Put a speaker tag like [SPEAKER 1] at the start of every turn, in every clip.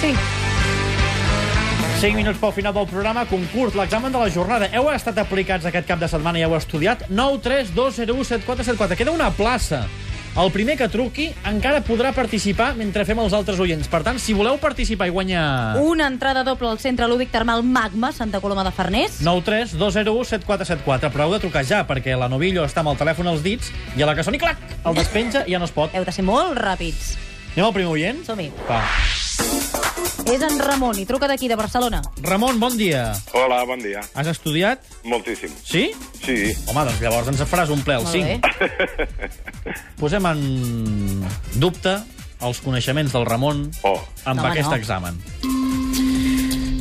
[SPEAKER 1] Sí.
[SPEAKER 2] 5 minuts pel final del programa, concurs, l'examen de la jornada. Heu estat aplicats aquest cap de setmana i heu estudiat? 9 3 2 0 1 7 4 7 4. Queda una plaça. El primer que truqui encara podrà participar mentre fem els altres oients. Per tant, si voleu participar i guanyar...
[SPEAKER 1] Una entrada doble al centre lúdic termal Magma, Santa Coloma de Farners.
[SPEAKER 2] 9 3 2 0 1 7 4 7 4. Però heu de trucar ja, perquè la Novillo està amb el telèfon als dits i a la que soni, clac, el despenja i ja no es pot.
[SPEAKER 1] Heu de ser molt ràpids.
[SPEAKER 2] Anem al primer oient?
[SPEAKER 1] Som-hi.
[SPEAKER 2] Va.
[SPEAKER 1] És en Ramon i truca d'aquí, de Barcelona.
[SPEAKER 2] Ramon, bon dia.
[SPEAKER 3] Hola, bon dia.
[SPEAKER 2] Has estudiat?
[SPEAKER 3] Moltíssim.
[SPEAKER 2] Sí?
[SPEAKER 3] Sí.
[SPEAKER 2] Home, doncs llavors ens faràs un ple al
[SPEAKER 1] Molt
[SPEAKER 2] 5.
[SPEAKER 1] bé.
[SPEAKER 2] Posem en dubte els coneixements del Ramon
[SPEAKER 3] Oh,
[SPEAKER 2] amb
[SPEAKER 1] Home,
[SPEAKER 2] aquest
[SPEAKER 1] no.
[SPEAKER 2] examen.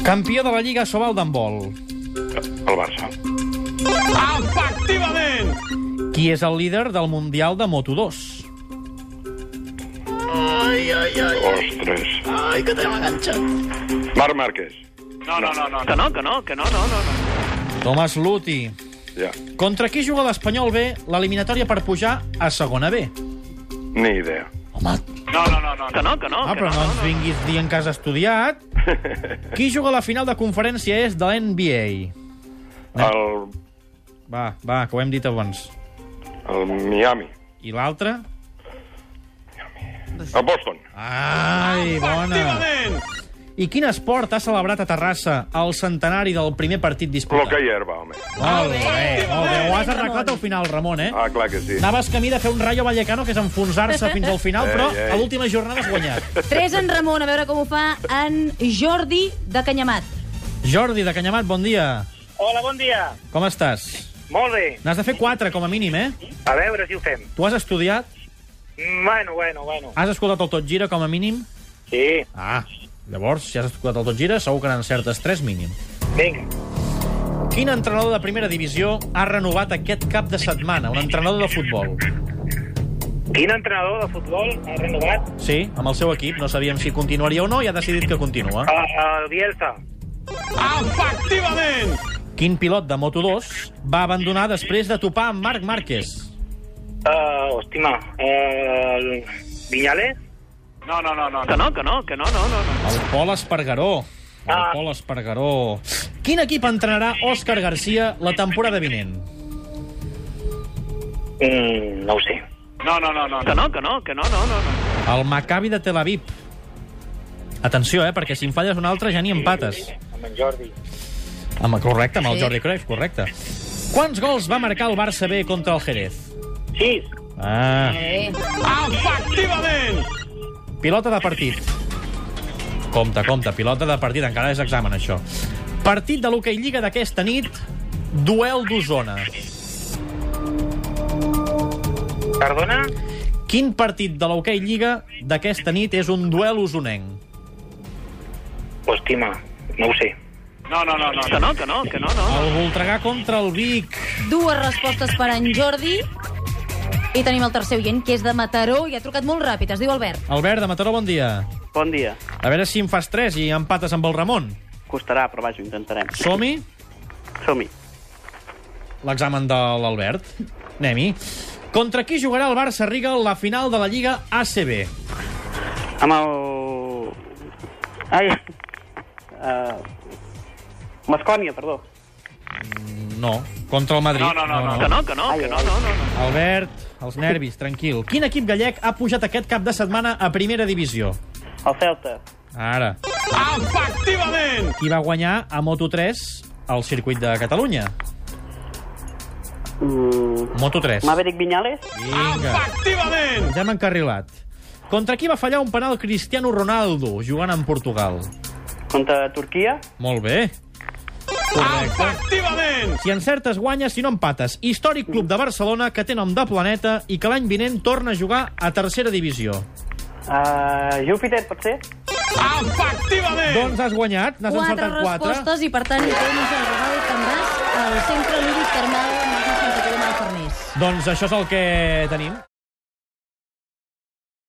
[SPEAKER 2] Campió de la Lliga Sobal d'handbol.
[SPEAKER 3] el Barça.
[SPEAKER 2] Qui és el líder del Mundial de Moto2?
[SPEAKER 3] Ostres. Ai, que té la ganxa. Marc Márquez. No, no, no, no.
[SPEAKER 4] Que no, que no, que no, no, no. no.
[SPEAKER 2] Tomàs Luti.
[SPEAKER 3] Ja.
[SPEAKER 2] Contra qui juga l'Espanyol B l'eliminatòria per pujar a segona B?
[SPEAKER 3] Ni idea.
[SPEAKER 2] Home,
[SPEAKER 4] Que no, que no,
[SPEAKER 2] ah,
[SPEAKER 4] que
[SPEAKER 2] però
[SPEAKER 4] no.
[SPEAKER 2] no ens vinguis dient que has estudiat. Qui juga la final de conferència és de l'NBA?
[SPEAKER 3] El,
[SPEAKER 2] Va, va, que ho hem dit abans.
[SPEAKER 3] el Miami.
[SPEAKER 2] I l'altre?
[SPEAKER 3] El Boston.
[SPEAKER 2] Ai, bona! I quin esport ha celebrat a Terrassa el centenari del primer partit disputat?
[SPEAKER 3] L'hoquei herba, home.
[SPEAKER 2] Molt bé, molt bé. Ho has arreglat
[SPEAKER 1] Ramon.
[SPEAKER 2] al final, Ramon, eh?
[SPEAKER 3] Ah, clar que sí.
[SPEAKER 2] Anaves camí de fer un Rayo Vallecano, que és enfonsar-se fins al final,
[SPEAKER 3] Ei,
[SPEAKER 2] però
[SPEAKER 3] ei.
[SPEAKER 2] a l'última jornada has guanyat.
[SPEAKER 1] 3 en Ramon, a veure com ho fa en Jordi de Canyamat.
[SPEAKER 2] Jordi de Canyamat, bon dia.
[SPEAKER 5] Hola, bon dia.
[SPEAKER 2] Com estàs?
[SPEAKER 5] Molt bé.
[SPEAKER 2] N'has de fer quatre, com a mínim, eh?
[SPEAKER 5] A veure si ho fem.
[SPEAKER 2] Tu has estudiat?
[SPEAKER 5] Mm, Bueno, bueno, bueno.
[SPEAKER 2] Has escoltat el Tot Gira, com a mínim?
[SPEAKER 5] Sí,
[SPEAKER 2] Ah, llavors, si has escoltat el Tot Gira, segur que n'encertes tres mínim.
[SPEAKER 5] vinga.
[SPEAKER 2] Quin entrenador de primera divisió ha renovat aquest cap de setmana? Un entrenador de futbol.
[SPEAKER 5] Quin entrenador de futbol ha renovat?
[SPEAKER 2] Sí, amb el seu equip. No sabíem si continuaria o no i ha decidit que continua.
[SPEAKER 5] El, el Bielsa.
[SPEAKER 2] Quin pilot de Moto2 va abandonar després de topar amb Marc Márquez?
[SPEAKER 5] Uh, hòstima. Uh, el Viñales?
[SPEAKER 4] Que no, que no, que no, no, no. no.
[SPEAKER 2] El Pol Espargaró. El
[SPEAKER 5] Ah.
[SPEAKER 2] Pol Espargaró. Quin equip entrenarà Òscar Garcia la temporada vinent?
[SPEAKER 5] Mm, no ho sé.
[SPEAKER 4] Que no, que no, que no, no, no. no.
[SPEAKER 2] El Maccabi de Tel Aviv. Atenció, eh, perquè si en falles una altra ja ni empates.
[SPEAKER 5] Amb en Jordi.
[SPEAKER 2] Amb, correcte, amb el
[SPEAKER 1] Sí.
[SPEAKER 2] Jordi Cruyff, correcte. Quants gols va marcar el Barça B contra el Jerez?
[SPEAKER 5] Sis.
[SPEAKER 2] Ah.
[SPEAKER 1] Eh.
[SPEAKER 2] Pilota de partit. Compte, compte, pilota de partit, encara és examen, això. Partit de l'Hockey Lliga d'aquesta nit, duel d'Osona.
[SPEAKER 5] Perdona?
[SPEAKER 2] Quin partit de l'Hockey Lliga d'aquesta nit és un duel usonenc?
[SPEAKER 5] Hòstima. No ho sé.
[SPEAKER 4] Que no, que no, que no, no.
[SPEAKER 2] El Voltregà contra el Vic.
[SPEAKER 1] Dues respostes per en Jordi. I tenim el tercer oient, que és de Mataró, i ha trucat molt ràpid, es diu Albert.
[SPEAKER 2] Albert, de Mataró, bon dia.
[SPEAKER 4] Bon dia.
[SPEAKER 2] A veure si en fas 3 i empates amb el Ramon.
[SPEAKER 4] Costarà, però vaja, ho intentarem.
[SPEAKER 2] Som-hi,
[SPEAKER 4] Som-hi.
[SPEAKER 2] l'examen de l'Albert. Anem-hi. Contra qui jugarà el Barça-Riga la final de la Lliga ACB?
[SPEAKER 4] Amb el... Ai... Uh... Mascònia, perdó.
[SPEAKER 2] No, contra el Madrid.
[SPEAKER 4] Que no, que no, que no, no, no. no.
[SPEAKER 2] Albert, els nervis, tranquil. Quin equip gallec ha pujat aquest cap de setmana a primera divisió?
[SPEAKER 4] El Celta.
[SPEAKER 2] Ara. Efectivament! Qui va guanyar a Moto3 al circuit de Catalunya?
[SPEAKER 4] Mm...
[SPEAKER 2] Moto3.
[SPEAKER 4] Maverick Viñales?
[SPEAKER 2] Vinga. Efectivament! Ens hem encarrilat. Contra qui va fallar un penal Cristiano Ronaldo jugant en Portugal?
[SPEAKER 4] Contra Turquia?
[SPEAKER 2] Molt bé. Correcte. Efectivament! Si encertes, guanyes, si no empates. Històric Club de Barcelona que té nom de planeta i que l'any vinent torna a jugar a tercera divisió.
[SPEAKER 4] Uh, Júpiter, potser?
[SPEAKER 2] Doncs has guanyat, n'has
[SPEAKER 1] Quatre
[SPEAKER 2] encertat quatre.
[SPEAKER 1] respostes, i per tant, tens el regal que tindràs al centre lúdic termal Magma Santa Coloma de Farners.
[SPEAKER 2] Doncs això és el que tenim.